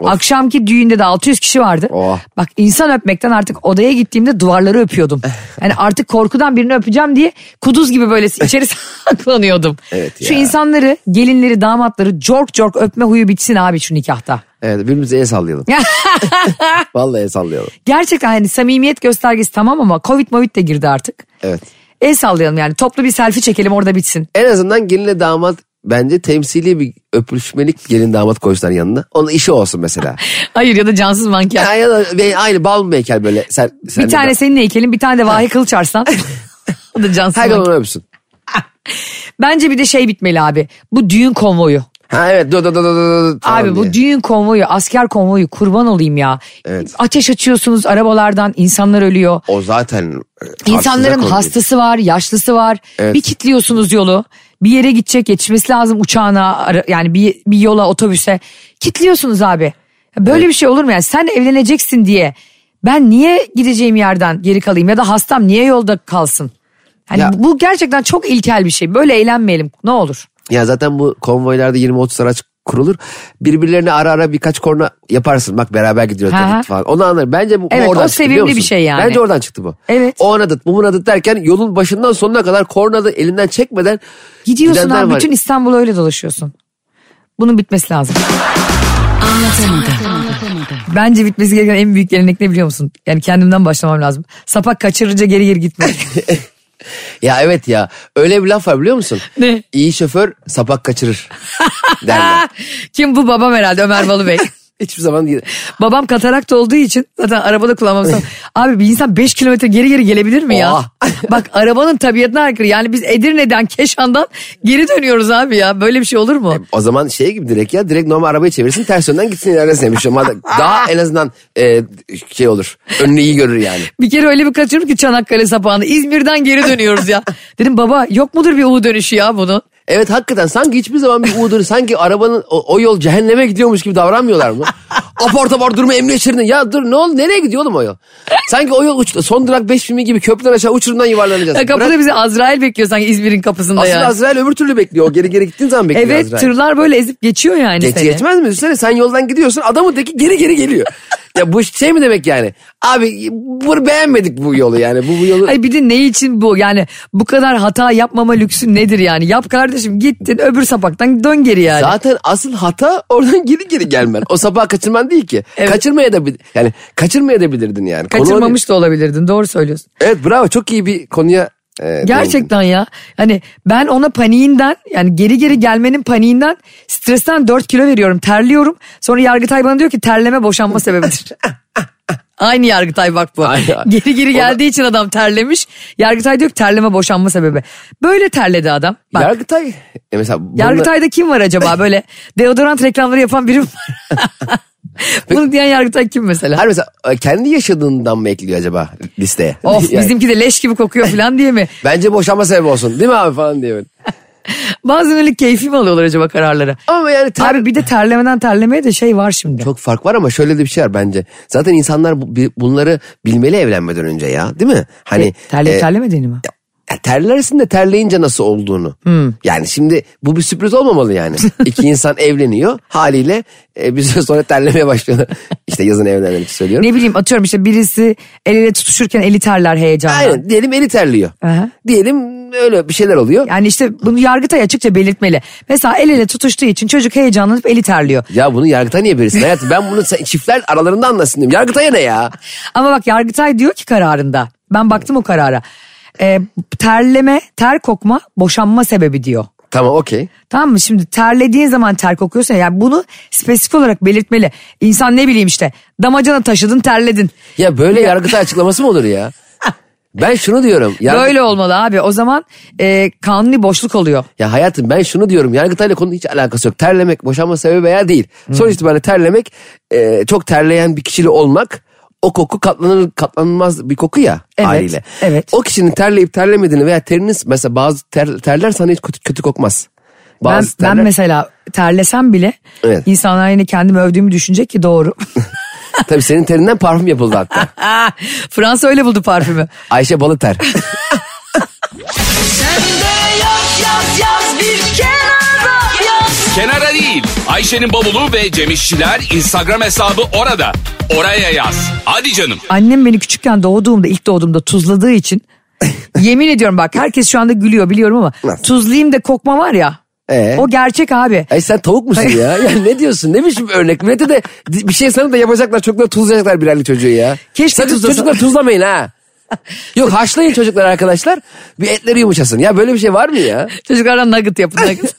S2: Akşamki düğünde de 600 kişi vardı.
S3: Oh.
S2: Bak insan öpmekten artık odaya gittiğimde duvarları öpüyordum. Yani artık korkudan birini öpeceğim diye kuduz gibi böyle içeri saklanıyordum.
S3: Evet
S2: şu
S3: ya.
S2: insanları gelinleri damatları cork cork öpme huyu bitsin abi şu nikahta.
S3: evet birbirimize el sallayalım. Vallahi el sallayalım.
S2: Gerçekten hani samimiyet göstergesi tamam ama Covid Covid de girdi artık.
S3: Evet.
S2: El sallayalım yani toplu bir selfie çekelim orada bitsin.
S3: En azından gelinle damat bence temsili bir öpüşmelik gelin damat koysunlar yanına. Onun işi olsun mesela.
S2: Hayır ya da cansız manken.
S3: ya, ya da bir- aynı bal mı heykel böyle. Sen, sen
S2: bir tane senin heykelin bir tane de Vahi Kılıçarslan. o da cansız
S3: Her gün
S2: manken.
S3: onu öpsün.
S2: Bence bir de şey bitmeli abi. Bu düğün konvoyu.
S3: Ha evet dur dur dur dur. dur, tamam
S2: abi bu
S3: diye.
S2: düğün konvoyu, asker konvoyu kurban olayım ya.
S3: Evet.
S2: Ateş açıyorsunuz arabalardan insanlar ölüyor.
S3: O zaten. e,
S2: İnsanların
S3: tartışılacak konu değil.
S2: hastası var, yaşlısı var.
S3: Evet.
S2: Bir kitliyorsunuz yolu. Bir yere gidecek, yetişmesi lazım uçağına, ara- yani bir, bir yola, otobüse. Kitliyorsunuz abi. Ya Böyle bir şey olur mu yani? Sen evleneceksin diye ben niye gideceğim yerden geri kalayım ya da hastam niye yolda kalsın? Yani
S3: Ya-
S2: bu gerçekten çok ilkel bir şey. Böyle eğlenmeyelim ne olur.
S3: Ya zaten bu konvoylarda 20-30 araç kurulur. Birbirlerine ara ara birkaç korna yaparsın. Bak beraber gidiyoruz
S2: Aha.
S3: dedik falan. Onu anlarım. Bence bu, bu
S2: Evet,
S3: oradan
S2: o
S3: çıktı
S2: sevimli
S3: biliyor musun?
S2: bir şey yani.
S3: Bence oradan çıktı bu.
S2: Evet.
S3: O anadıt bu bunadıt derken yolun başından sonuna kadar kornadı elinden çekmeden
S2: Gidiyorsun
S3: gidenler
S2: abi
S3: var.
S2: bütün İstanbul'u öyle dolaşıyorsun. Bunun bitmesi lazım. Bence bitmesi gereken en büyük gelenek ne biliyor musun? Yani kendimden başlamam lazım. Sapak kaçırınca geri geri gitmek.
S3: Ya evet ya öyle bir laf var biliyor musun?
S2: Ne?
S3: İyi şoför sapak kaçırır derler.
S2: Kim bu babam herhalde Ömer Balı Bey.
S3: Hiçbir zaman değil.
S2: babam katarak da olduğu için zaten arabada kullanmam lazım. Abi bir insan 5 kilometre geri geri gelebilir mi ya?
S3: Oha.
S2: Bak arabanın tabiatına aykırı. Yani biz Edirne'den Keşan'dan geri dönüyoruz abi ya. Böyle bir şey olur mu?
S3: O zaman şey gibi direkt ya direkt normal arabayı çevirsin ters yönden gitsin ilerlesin. Bir şey olmaz. Daha en azından e, şey olur. Önünü iyi görür yani.
S2: Bir kere öyle bir kaçırdım ki Çanakkale sapağını. İzmir'den geri dönüyoruz ya. Dedim baba yok mudur bir U dönüşü ya bunun?
S3: Evet hakikaten sanki hiçbir zaman bir uğdur sanki arabanın o, o yol cehenneme gidiyormuş gibi davranmıyorlar mı? apar topar durma emniyet şeridine ya dur ne oldu nereye gidiyor oğlum o yol? Sanki o yol uç, son durak 5 filmi gibi köprüden aşağı uçurumdan yuvarlanacağız.
S2: Ya kapıda
S3: Bırak-
S2: bizi Azrail bekliyor sanki İzmir'in kapısında
S3: Asıl
S2: ya.
S3: Azrail öbür türlü bekliyor. O geri geri gittiğin zaman bekliyor
S2: Evet
S3: Azrail.
S2: tırlar böyle ezip geçiyor yani
S3: Geç
S2: seni.
S3: geçmez mi? Düşünsene sen yoldan gidiyorsun adamın teki geri geri geliyor. ya bu şey mi demek yani? Abi bunu beğenmedik bu yolu yani. Bu, bu yolu
S2: Ay bir de ne için bu yani bu kadar hata yapmama lüksü nedir yani yap kardeşim gittin öbür sapaktan dön geri yani.
S3: Zaten asıl hata oradan geri geri gelmen. O sabah kaçırman değil ki.
S2: Evet.
S3: Kaçırmaya da bil- yani kaçırmaya da bilirdin yani. Konu o değil.
S2: Kaçırmamış da olabilirdin doğru söylüyorsun.
S3: Evet bravo çok iyi bir konuya e, değindin.
S2: Gerçekten ya hani ben ona paniğinden yani geri geri gelmenin paniğinden stresten 4 kilo veriyorum terliyorum. Sonra Yargıtay bana diyor ki terleme boşanma sebebidir. Aynı Yargıtay bak bu.
S3: Aynen.
S2: Geri geri
S3: Ona-
S2: geldiği için adam terlemiş. Yargıtay diyor ki terleme boşanma sebebi. Böyle terledi adam. Bak.
S3: Yargıtay e, mesela bununla-
S2: Yargıtay'da kim var acaba böyle deodorant reklamları yapan biri mi var? Bunu diyen Yargıtay kim mesela?
S3: Hayır mesela e, kendi yaşadığından mı ekliyor acaba listeye?
S2: Of
S3: Yani
S2: bizimki de leş gibi kokuyor falan diye mi?
S3: Bence boşanma sebebi olsun değil mi abi falan diye. böyle.
S2: Bazen öyle keyfi mi alıyorlar acaba kararları?
S3: Ama yani ter-
S2: Abi bir de terlemeden terlemeye de şey var şimdi.
S3: çok fark var ama şöyle de bir şey var bence. Zaten insanlar bu- bi- bunları bilmeli evlenmeden önce ya değil mi? Hani
S2: Terleyip
S3: e,
S2: terlemediğini mi?
S3: ya terlersin de terleyince nasıl olduğunu. Yani şimdi bu bir sürpriz olmamalı yani. İki insan evleniyor haliyle e, bir süre sonra terlemeye başlıyorlar. İşte yazın evlenenler için söylüyorum.
S2: Ne bileyim atıyorum işte birisi el ele tutuşurken eli terler heyecanla.
S3: Aynen diyelim eli terliyor.
S2: Aha.
S3: Diyelim öyle bir şeyler oluyor.
S2: Yani işte bunu Yargıtay açıkça belirtmeli. Mesela el ele tutuştuğu için çocuk heyecanlanıp eli terliyor.
S3: Ya bunu Yargıtay niye verirsin? Hayatım ben bunu sen- çiftler aralarında anlasın diyorum. Yargıtay'a ne ya?
S2: Ama bak Yargıtay diyor ki kararında. Ben baktım o karara. Ee, terleme, ter kokma boşanma sebebi diyor.
S3: Tamam okey.
S2: Tamam mı? Şimdi terlediğin zaman ter kokuyorsa yani bunu spesifik olarak belirtmeli. İnsan ne bileyim işte damacana taşıdın terledin.
S3: Ya böyle Yargıtay açıklaması mı olur ya? Ben şunu diyorum. Yargı-
S2: Böyle olmalı abi. O zaman e, kanuni boşluk oluyor.
S3: Ya hayatım ben şunu diyorum Yargıtay'la konunun hiç alakası yok. Terlemek boşanma sebebi veya değil.
S2: Hmm.
S3: Sonuç itibariyle terlemek e, çok terleyen bir kişiyle olmak o koku katlanır katlanılmaz bir koku ya
S2: Evet,
S3: haliyle.
S2: evet.
S3: O kişinin terleyip terlemediğini veya teriniz mesela bazı ter, terler sana hiç kötü, kötü kokmaz.
S2: Ben,
S3: Bazı
S2: ben
S3: terler-
S2: mesela terlesem bile
S3: Evet.
S2: insanlar yine kendimi övdüğümü düşünecek ki doğru. Ah,
S3: Tabii senin terinden parfüm yapıldı hatta.
S2: Fransa öyle buldu parfümü.
S3: Ayşe Balıter.
S1: Kenara değil. Ayşe'nin bavulu ve Cemişçiler Instagram hesabı orada. Oraya yaz. Hadi canım.
S2: Annem beni küçükken doğduğumda ilk doğduğumda tuzladığı için yemin ediyorum bak herkes şu anda gülüyor biliyorum ama
S3: Nasıl?
S2: tuzlayayım da kokma var ya.
S3: Ee?
S2: O gerçek abi.
S3: Ay sen tavuk musun ya? Ya ne diyorsun? Ne biçim örnek? Millete de bir şey sana da yapacaklar. Çocuklar tuzlayacaklar birerli çocuğu ya.
S2: Keşke
S3: Sakın
S2: tuzlasa-
S3: çocuklar tuzlamayın ha. Yok haşlayın çocuklar arkadaşlar. Bir etleri yumuşasın. Ya böyle bir şey var mı ya?
S2: Çocuklara nugget yapın nugget.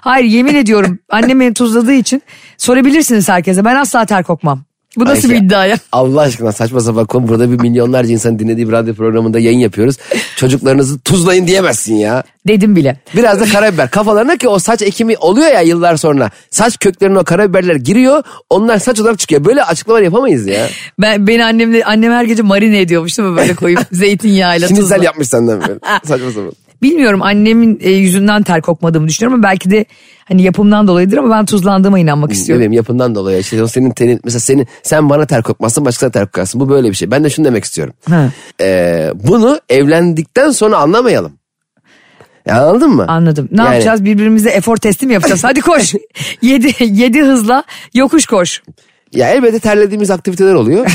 S2: Hayır yemin ediyorum annem beni tuzladığı için sorabilirsiniz herkese ben asla ter kokmam. Bu nasıl
S3: Ayşe,
S2: bir iddia ya?
S3: Allah aşkına saçma sapan konu. Burada bir milyonlarca insan dinlediği bir radyo programında yayın yapıyoruz. Çocuklarınızı tuzlayın diyemezsin ya.
S2: Dedim bile.
S3: Biraz da karabiber. Kafalarına ki o saç ekimi oluyor ya yıllar sonra. Saç köklerine o karabiberler giriyor. Onlar saç olarak çıkıyor. Böyle açıklamalar yapamayız ya.
S2: Ben, beni annemle, annem her gece marine ediyormuş değil mi böyle koyup zeytinyağıyla
S3: Şimdi
S2: tuzla.
S3: güzel yapmış senden böyle. saçma sapan.
S2: Bilmiyorum annemin e, yüzünden ter kokmadığımı düşünüyorum ama belki de hani yapımdan dolayıdır ama ben tuzlandığıma inanmak istiyorum.
S3: Bebeğim yapından dolayı işte o senin tenin mesela senin sen bana ter kokmazsın başkasına ter kokarsın bu böyle bir şey. Ben de şunu demek istiyorum.
S2: Ha.
S3: Ee, bunu evlendikten sonra anlamayalım. Ya anladın mı?
S2: Anladım. Ne
S3: Yani-
S2: yapacağız? Birbirimize efor testi mi yapacağız? Hadi koş. yedi, yedi hızla yokuş koş.
S3: Ya elbette terlediğimiz aktiviteler oluyor.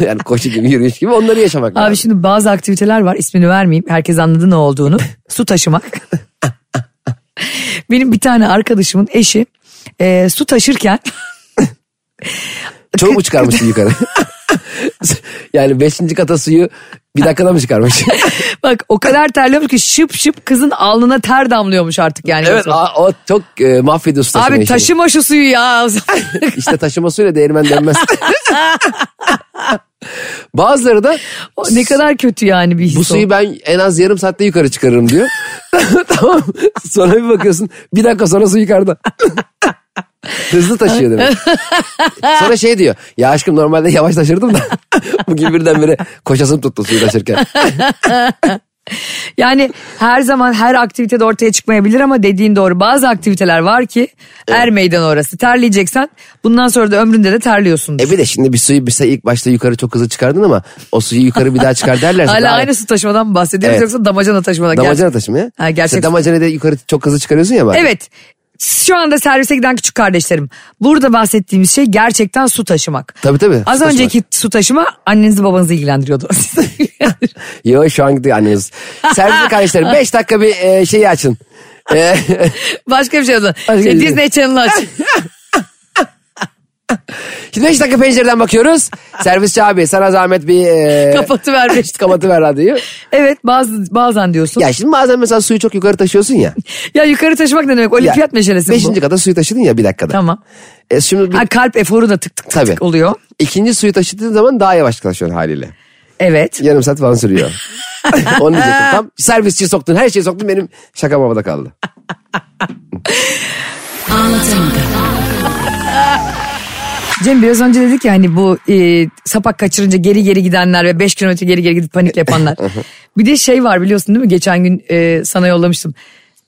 S3: yani koşu gibi yürüyüş gibi onları yaşamak
S2: Abi
S3: lazım.
S2: şimdi bazı aktiviteler var ismini vermeyeyim. Herkes anladı ne olduğunu. su taşımak. Benim bir tane arkadaşımın eşi e, su taşırken
S3: Çok mu çıkarmışsın yukarı? yani beşinci kata suyu bir dakikada mı çıkarmış?
S2: bak o kadar terliyormuş ki şıp şıp kızın alnına ter damlıyormuş artık yani.
S3: evet a- o çok e, mahvediyor su taşıma
S2: Abi
S3: işini.
S2: taşıma şu suyu ya.
S3: İşte taşıma suyla değirmen dönmez. Bazıları da
S2: O ne kadar kötü yani bir his
S3: Bu
S2: o.
S3: suyu ben en az yarım saatte yukarı çıkarırım diyor. tamam. Sonra bir bakıyorsun. Bir dakika sonra su yukarıda. Hızlı taşıyor demek. Sonra şey diyor. Ya aşkım normalde yavaş taşırdım da. Bugün birdenbire koşasım tuttu suyu taşırken.
S2: Yani her zaman her aktivitede ortaya çıkmayabilir ama dediğin doğru. Bazı aktiviteler var ki er meydan orası. Terleyeceksen bundan sonra da ömründe de terliyorsun.
S3: E bir de şimdi bir suyu bir ilk başta yukarı çok hızlı çıkardın ama o suyu yukarı bir daha çıkar derlerse.
S2: Hala
S3: daha-
S2: aynı su taşımadan mı bahsediyoruz
S3: Evet.
S2: yoksa damacana taşımadan?
S3: Damacana
S2: Gerçi-
S3: taşımaya.
S2: Ha, gerçek.
S3: İşte damacanayı da yukarı çok hızlı çıkarıyorsun ya bari.
S2: Evet. Şu anda servise giden küçük kardeşlerim. Burada bahsettiğimiz şey gerçekten su taşımak.
S3: Tabii tabii.
S2: Az
S3: su taşımak.
S2: önceki su taşıma annenizi babanızı ilgilendiriyordu.
S3: Yo şu an gidiyor anneniz. Servis kardeşlerim 5 dakika bir e, şeyi açın. E,
S2: Başka bir şey oldu.
S3: Başka
S2: Şey,
S3: bir şey.
S2: Disney Channel aç.
S3: Şimdi 5 dakika pencereden bakıyoruz. Servisçi abi sana zahmet bir... E,
S2: Kapatıver beş dakika.
S3: kapatıver radyoyu.
S2: Evet bazı, bazen diyorsun. Ya,
S3: Ya şimdi bazen mesela suyu çok yukarı taşıyorsun ya.
S2: yukarı taşımak ne demek? Olimpiyat meşalesi mi bu?
S3: Beşinci kata suyu taşıdın ya bir dakikada.
S2: Tamam.
S3: E şimdi bir-
S2: Ha, kalp eforu da tık tık tık,
S3: Tabii.
S2: tık oluyor.
S3: ikinci suyu taşıdığın zaman daha yavaş taşıyorsun haliyle.
S2: Evet.
S3: Yarım saat falan sürüyor. Onu diyecektim tam. Servisçiyi soktun her şeyi soktun benim şaka babada kaldı.
S2: Cem biraz önce dedik ya hani bu e, sapak kaçırınca geri geri gidenler ve 5 kilometre geri geri gidip panik yapanlar. bir de şey var biliyorsun değil mi? Geçen gün e, sana yollamıştım.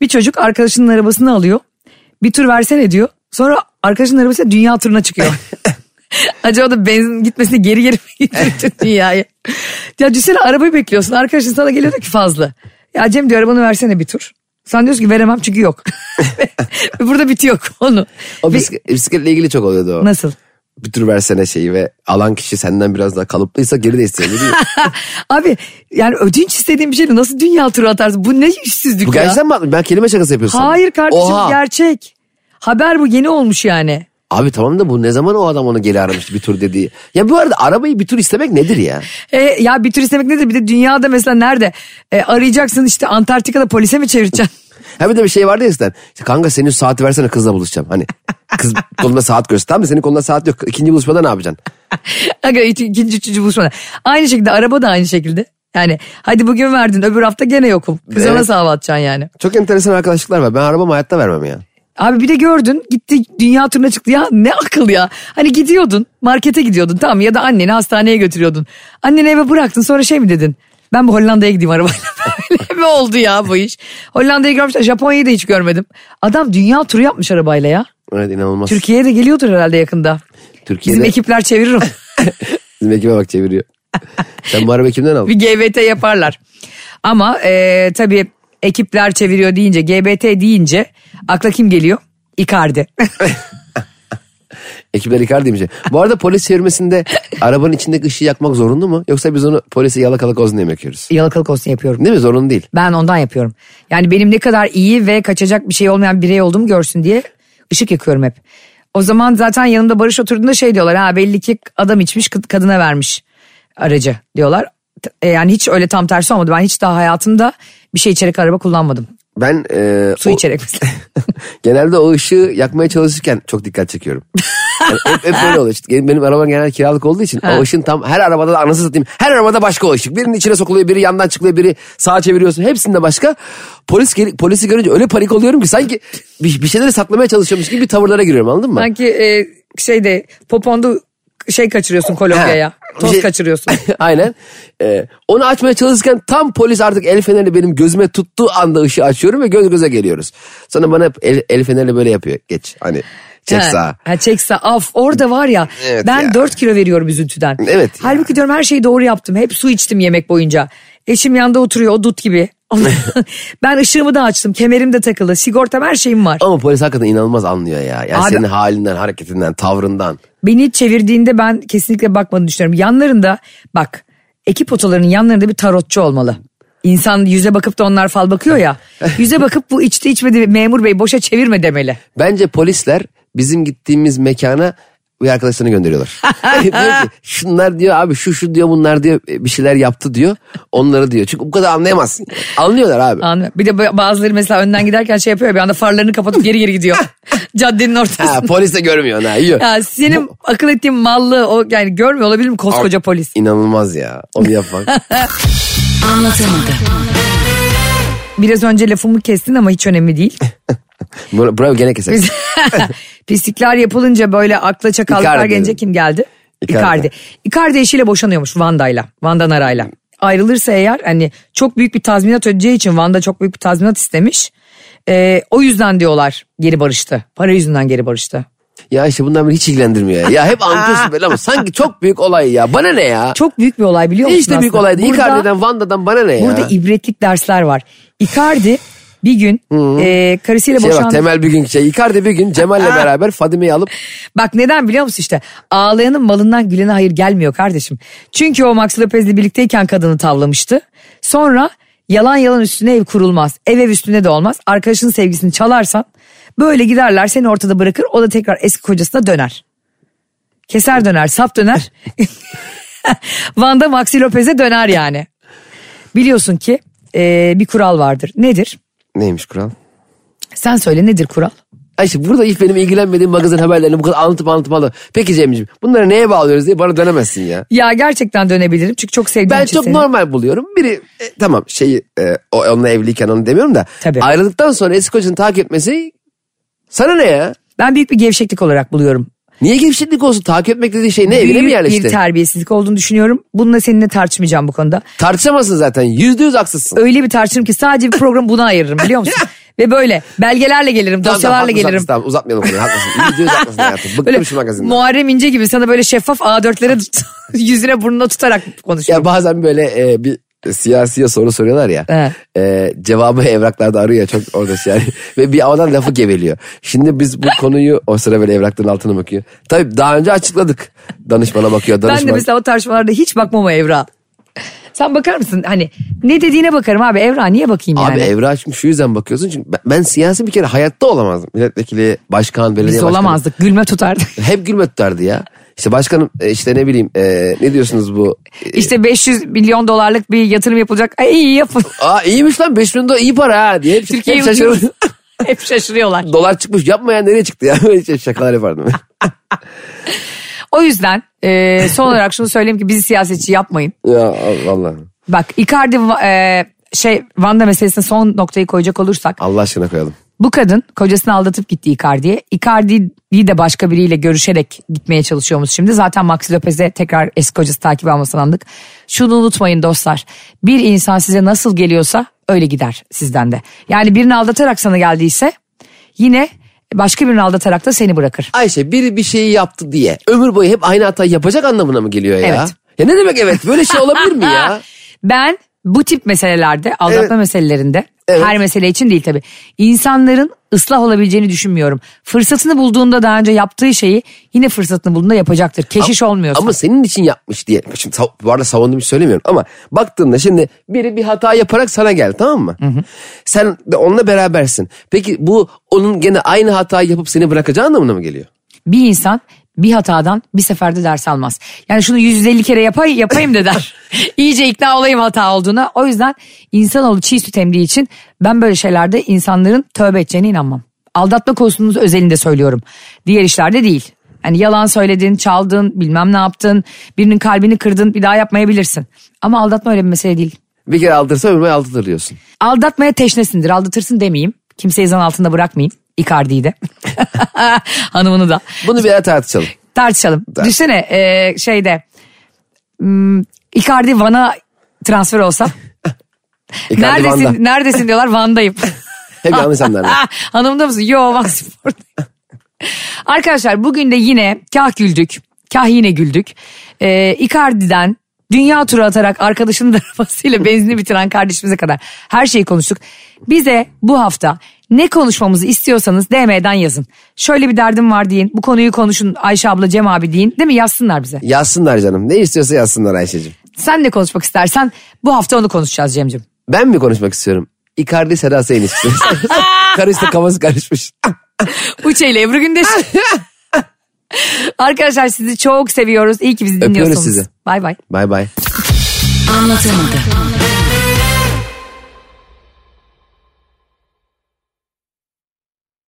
S2: Bir çocuk arkadaşının arabasını alıyor. Bir tur versene diyor. Sonra arkadaşının arabasıyla dünya turuna çıkıyor. Acaba da benzin gitmesini geri geri mi getirecek dünyayı? Ya düşünsene arabayı bekliyorsun. Arkadaşın sana geliyor diyor ki fazla. Ya Cem diyor arabanı versene bir tur. Sen diyorsun ki veremem çünkü yok. Burada bitiyor konu.
S3: O
S2: Ve-
S3: bisiklet, bisikletle ilgili çok oluyordu o.
S2: Nasıl?
S3: Bir tür versene şeyi ve alan kişi senden biraz daha kalıplıysa geri de isteyebilir.
S2: Abi yani ödünç istediğin bir şeyle nasıl dünya turu atarsın? Bu ne işsizlik
S3: Bu
S2: ya?
S3: gerçekten mi? Ben kelime şakası yapıyorsun.
S2: Hayır kardeşim
S3: Oha.
S2: gerçek. Haber bu yeni olmuş yani.
S3: Abi tamam da bu ne zaman o adam onu geri aramıştı bir tur dediği. Ya bu arada arabayı bir tur istemek nedir ya?
S2: E, ya bir tur istemek nedir? Bir de dünyada mesela nerede? E, arayacaksın işte Antarktika'da polise mi çevireceksin?
S3: Ha bir de bir şey vardı ya eskiden. İşte kanka senin şu saati versene kızla buluşacağım. Hani kız kolunda saat göster. Tamam da senin kolunda saat yok. İkinci buluşmada ne yapacaksın?
S2: Aga iki- ikinci üçüncü buluşmada. Aynı şekilde araba da aynı şekilde. Yani hadi bugün verdin öbür hafta gene yokum. Kıza
S3: Evet.
S2: nasıl hava atacaksın yani?
S3: Çok enteresan arkadaşlıklar var. Ben arabamı hayatta vermem ya.
S2: Abi bir de gördün gitti dünya turuna çıktı ya ne akıl ya. Hani gidiyordun markete gidiyordun tamam ya da anneni hastaneye götürüyordun. Anneni eve bıraktın sonra şey mi dedin? Ben bu Hollanda'ya gideyim arabayla. Böyle mi oldu ya bu iş? Hollanda'yı görmüşler Japonya'yı da hiç görmedim. Adam dünya turu yapmış arabayla ya.
S3: Evet inanılmaz.
S2: Türkiye'ye de geliyordur herhalde yakında.
S3: Türkiye'de
S2: Bizim ekipler çevirir onu.
S3: bizim ekibe bak çeviriyor. Sen bu arabayı kimden aldın?
S2: bir GBT yaparlar. Ama e, tabii ekipler çeviriyor deyince GBT deyince akla kim geliyor? Icardi.
S3: Ekipler ikar demiş. Bu arada polis çevirmesinde arabanın içindeki ışığı yakmak zorunlu mu? Yoksa biz onu polise yalakalık olsun diye mi yakıyoruz?
S2: Yalakalık olsun yapıyorum.
S3: Değil mi? Zorunlu değil.
S2: Ben ondan yapıyorum. Yani benim ne kadar iyi ve kaçacak bir şey olmayan birey olduğumu görsün diye ışık yakıyorum hep. O zaman zaten yanımda Barış oturduğunda şey diyorlar. Ha belli ki adam içmiş kad- kadına vermiş aracı diyorlar. T- e, Yani hiç öyle tam tersi olmadı. Ben hiç daha hayatımda bir şey içerek araba kullanmadım.
S3: Ben e,
S2: Su
S3: o-
S2: içerek mesela.
S3: genelde o ışığı yakmaya çalışırken çok dikkat çekiyorum. Yani hep, hep böyle oluyor. İşte benim, benim arabam genel kiralık olduğu için o ışın tam her arabada da anasını satayım. Her arabada başka o ışık. Birinin içine sokuluyor, biri yandan çıkıyor, biri sağa çeviriyorsun. Hepsinde başka. Polis gel- polisi görünce öyle panik oluyorum ki sanki bir, bir şeyleri saklamaya çalışıyormuş gibi tavırlara giriyorum anladın mı?
S2: Sanki e, şeyde poponda şey kaçırıyorsun kolonyaya.
S3: Ha, bir
S2: Toz
S3: şey-
S2: kaçırıyorsun.
S3: Aynen. Ee, onu açmaya çalışırken tam polis artık el feneri benim gözüme tuttuğu anda ışığı açıyorum ve göz göze geliyoruz. Sonra bana hep el, el feneri böyle yapıyor. Geç hani çek
S2: Ha,
S3: sağa.
S2: Ha, çek sağa. Af orada var ya
S3: Evet
S2: ben
S3: ya.
S2: 4 kilo veriyorum üzüntüden.
S3: Evet ya.
S2: Halbuki diyorum her şeyi doğru yaptım. Hep su içtim yemek boyunca. Eşim yanda oturuyor o dut gibi. ben ışığımı da açtım. Kemerim de takılı. Sigortam her şeyim var.
S3: Ama polis hakikaten inanılmaz anlıyor ya. Yani
S2: Abi-
S3: senin halinden, hareketinden, tavrından.
S2: Beni çevirdiğinde ben kesinlikle bakmadığını düşünüyorum. Yanlarında bak ekip otolarının yanlarında bir tarotçu olmalı. İnsan yüze bakıp da onlar fal bakıyor ya. Yüze bakıp bu içti içmedi memur bey boşa çevirme demeli.
S3: Bence polisler bizim gittiğimiz mekana bir arkadaşlarını gönderiyorlar. diyor ki şunlar diyor abi şu şu diyor bunlar diyor e, bir şeyler yaptı diyor. Onları diyor. Çünkü bu kadar anlayamazsın. Anlıyorlar abi.
S2: Anlıyorum. Bir de bazıları mesela önden giderken şey yapıyor ya, bir anda farlarını kapatıp geri geri gidiyor. Caddenin
S3: Ha,
S2: ortasında.
S3: polis de görmüyor. Ha, yiyor.
S2: Ya senin akıl ettiğin mallı o yani görmüyor olabilir mi koskoca polis?
S3: İnanılmaz ya. Onu yapmak.
S2: Biraz önce lafımı kestin ama hiç önemli değil.
S3: Bra- Bravo gene keser.
S2: Biz- Pislikler yapılınca böyle akla çakallıklar
S3: Icardi
S2: gelince
S3: dedim.
S2: kim geldi?
S3: Icardi.
S2: Icardi. Icardi eşiyle boşanıyormuş Vanda'yla. Vanda Nara'yla. Ayrılırsa eğer hani çok büyük bir tazminat ödeyeceği için Vanda çok büyük bir tazminat istemiş. Ee, o yüzden diyorlar geri barıştı. Para yüzünden geri barıştı.
S3: Ya işte bundan beni hiç ilgilendirmiyor ya. Ya hep anlatıyorsun böyle ama sanki çok büyük olay ya. Bana ne ya?
S2: Çok büyük bir olay biliyor musun
S3: Hiç de büyük
S2: aslında?
S3: olaydı.
S2: Burada-
S3: Icardi'den, Vanda'dan bana ne ya?
S2: Burada ibretlik dersler var. Icardi bir gün e, karısıyla
S3: Şeye
S2: boşandı.
S3: Şey bak temel bir gün şey. Icardi bir gün Cemal'le beraber Fadime'yi alıp
S2: Bak neden biliyor musun işte ağlayanın malından gülene hayır gelmiyor kardeşim. Çünkü o Max Lopez'le birlikteyken kadını tavlamıştı. Sonra yalan yalan üstüne ev kurulmaz. Ev ev üstüne de olmaz. Arkadaşının sevgisini çalarsan böyle giderler seni ortada bırakır o da tekrar eski kocasına döner. Keser döner sap döner. Van'da Maxi Lopez'e döner yani. Biliyorsun ki e, bir kural vardır. Nedir?
S3: neymiş kural?
S2: Sen söyle nedir kural?
S3: Ay işte burada hiç benim ilgilenmediğim magazin haberlerini bu kadar anlatıp anlatıp anlatıp. Peki Cem'ciğim bunları neye bağlıyoruz diye bana dönemezsin ya.
S2: Ya gerçekten dönebilirim çünkü çok sevdiğim
S3: Ben
S2: için
S3: çok
S2: seni.
S3: normal buluyorum. Biri e, tamam şeyi e, o- onunla evliyken onu demiyorum da.
S2: Tabii.
S3: Ayrıldıktan sonra eski kocanı takip etmesi sana ne ya?
S2: Ben büyük bir gevşeklik olarak buluyorum.
S3: Niye gevşeklik olsun? Takip etmek dediği şey ne? Evine mi
S2: Büyük bir
S3: yerleşti?
S2: terbiyesizlik olduğunu düşünüyorum. Bununla seninle tartışmayacağım bu konuda.
S3: Tartışamazsın zaten. Yüzde yüz haksızsın.
S2: Öyle bir tartışırım ki sadece bir program buna ayırırım biliyor musun? Ve böyle belgelerle gelirim,
S3: Tamam,
S2: dosyalarla
S3: tamam, haklısın,
S2: gelirim.
S3: Tamam uzatmayalım konuyu haklısın. İyice uzatmasın hayatım. Bıktım
S2: Böyle
S3: şu magazinden.
S2: Muharrem İnce gibi sana böyle şeffaf A4'lere tut- yüzüne burnuna tutarak konuşuyor.
S3: Ya bazen böyle e, bir siyasiye soru soruyorlar ya.
S2: Evet.
S3: E, cevabı evraklarda arıyor ya, çok orada şey yani. Ve bir havadan lafı geveliyor. Şimdi biz bu konuyu o sıra böyle evrakların altına bakıyor. Tabii daha önce açıkladık. Danışmana bakıyor. Danışman.
S2: Ben de mesela o tartışmalarda hiç bakmam o evra. Sen bakar mısın? Hani ne dediğine bakarım abi evra niye bakayım yani?
S3: Abi evrak şimdi şu yüzden bakıyorsun çünkü ben, ben siyasi bir kere hayatta olamazdım. Milletvekili, başkan, belediye
S2: Biz
S3: başkanı.
S2: olamazdık gülme tutardık.
S3: Hep gülme tutardı ya. İşte başkanım e, işte ne bileyim e, ne diyorsunuz bu? E,
S2: İşte 500 milyon dolarlık bir yatırım yapılacak. Ay iyi yapın.
S3: Aa iyiymiş lan 5 bin dolar iyi para ha diye. Hep,
S2: Türkiye'yi
S3: hep şaşırır.
S2: ucuz. Hep şaşırıyorlar.
S3: Dolar çıkmış yapma ya nereye çıktı ya? Böyle şey şakalar yapardım.
S2: O yüzden e, son olarak şunu söyleyeyim ki bizi siyasetçi yapmayın.
S3: ya Allah.
S2: Bak Icardi e, şey Vanda meselesine son noktayı koyacak olursak.
S3: Allah aşkına koyalım.
S2: Bu kadın kocasını aldatıp gitti Icardi'ye. Icardi'yi de başka biriyle görüşerek gitmeye çalışıyormuş şimdi. Zaten Maxi Lopez'e tekrar eski kocası takip almasını andık. Şunu unutmayın dostlar. Bir insan size nasıl geliyorsa öyle gider sizden de. Yani birini aldatarak sana geldiyse yine başka birini aldatarak da seni bırakır.
S3: Ayşe biri bir şeyi yaptı diye ömür boyu hep aynı hatayı yapacak anlamına mı geliyor ya?
S2: Evet.
S3: Ya ne demek evet böyle şey olabilir mi ya?
S2: Ben bu tip meselelerde, aldatma
S3: Evet.
S2: meselelerinde,
S3: Evet.
S2: her mesele için değil tabii. İnsanların ıslah olabileceğini düşünmüyorum. Fırsatını bulduğunda daha önce yaptığı şeyi yine fırsatını bulduğunda yapacaktır. Keşiş olmuyorsa.
S3: Ama senin için yapmış diye. Şimdi sav- bu arada savunduğumu söylemiyorum ama baktığında şimdi biri bir hata yaparak sana geldi tamam mı? Sen de onunla berabersin. Peki bu onun gene aynı hatayı yapıp seni bırakacağı anlamına mı geliyor?
S2: bir insan bir hatadan bir seferde ders almaz. Yani şunu 150 kere yapay, yapayım da der. İyice ikna olayım hata olduğuna. O yüzden insanoğlu çiğ süt emdiği için ben böyle şeylerde insanların tövbe edeceğine inanmam. Aldatma konusunun özelinde söylüyorum. Diğer işlerde değil. Hani yalan söyledin, çaldın, bilmem ne yaptın, birinin kalbini kırdın bir daha yapmayabilirsin. Ama aldatma öyle bir mesele değil.
S3: Bir kere aldırsa ömür boyu aldatır diyorsun.
S2: Aldatmaya teşnesindir. Aldatırsın demeyeyim. Kimseyi zan altında bırakmayayım. Icardi'yi de. Hanımını da
S3: Bunu bir ara tartışalım.
S2: tartışalım. Düşsene e, şeyde hmm, Icardi Van'a transfer olsa
S3: İkardi
S2: neredesin
S3: Van'da.
S2: neredesin diyorlar Van'dayım.
S3: Hep yanlış anlarlar.
S2: Hanımda mısın? Yo Van Spor'dayım. Arkadaşlar bugün de yine kah güldük. Kah yine güldük. E, Icardi'den dünya turu atarak arkadaşının da arabasıyla benzini bitiren kardeşimize kadar her şeyi konuştuk. Bize bu hafta ne konuşmamızı istiyorsanız DM'den yazın. Şöyle bir derdim var deyin. Bu konuyu konuşun Ayşe abla Cem abi deyin. Değil mi? Yazsınlar bize.
S3: Yazsınlar canım. Ne istiyorsa yazsınlar Ayşe'cim.
S2: Sen ne konuşmak istersen bu hafta onu konuşacağız Cem'ciğim.
S3: Ben mi konuşmak istiyorum? Icardi Seda Sayin istiyorum. Karıştı kafası karışmış.
S2: Uçe ile Ebru Gündeş. Arkadaşlar sizi çok seviyoruz. İyi ki bizi
S3: Öpüyoruz
S2: dinliyorsunuz.
S3: sizi.
S2: Bay bay.
S3: Bay bay.
S4: Anlatamadım.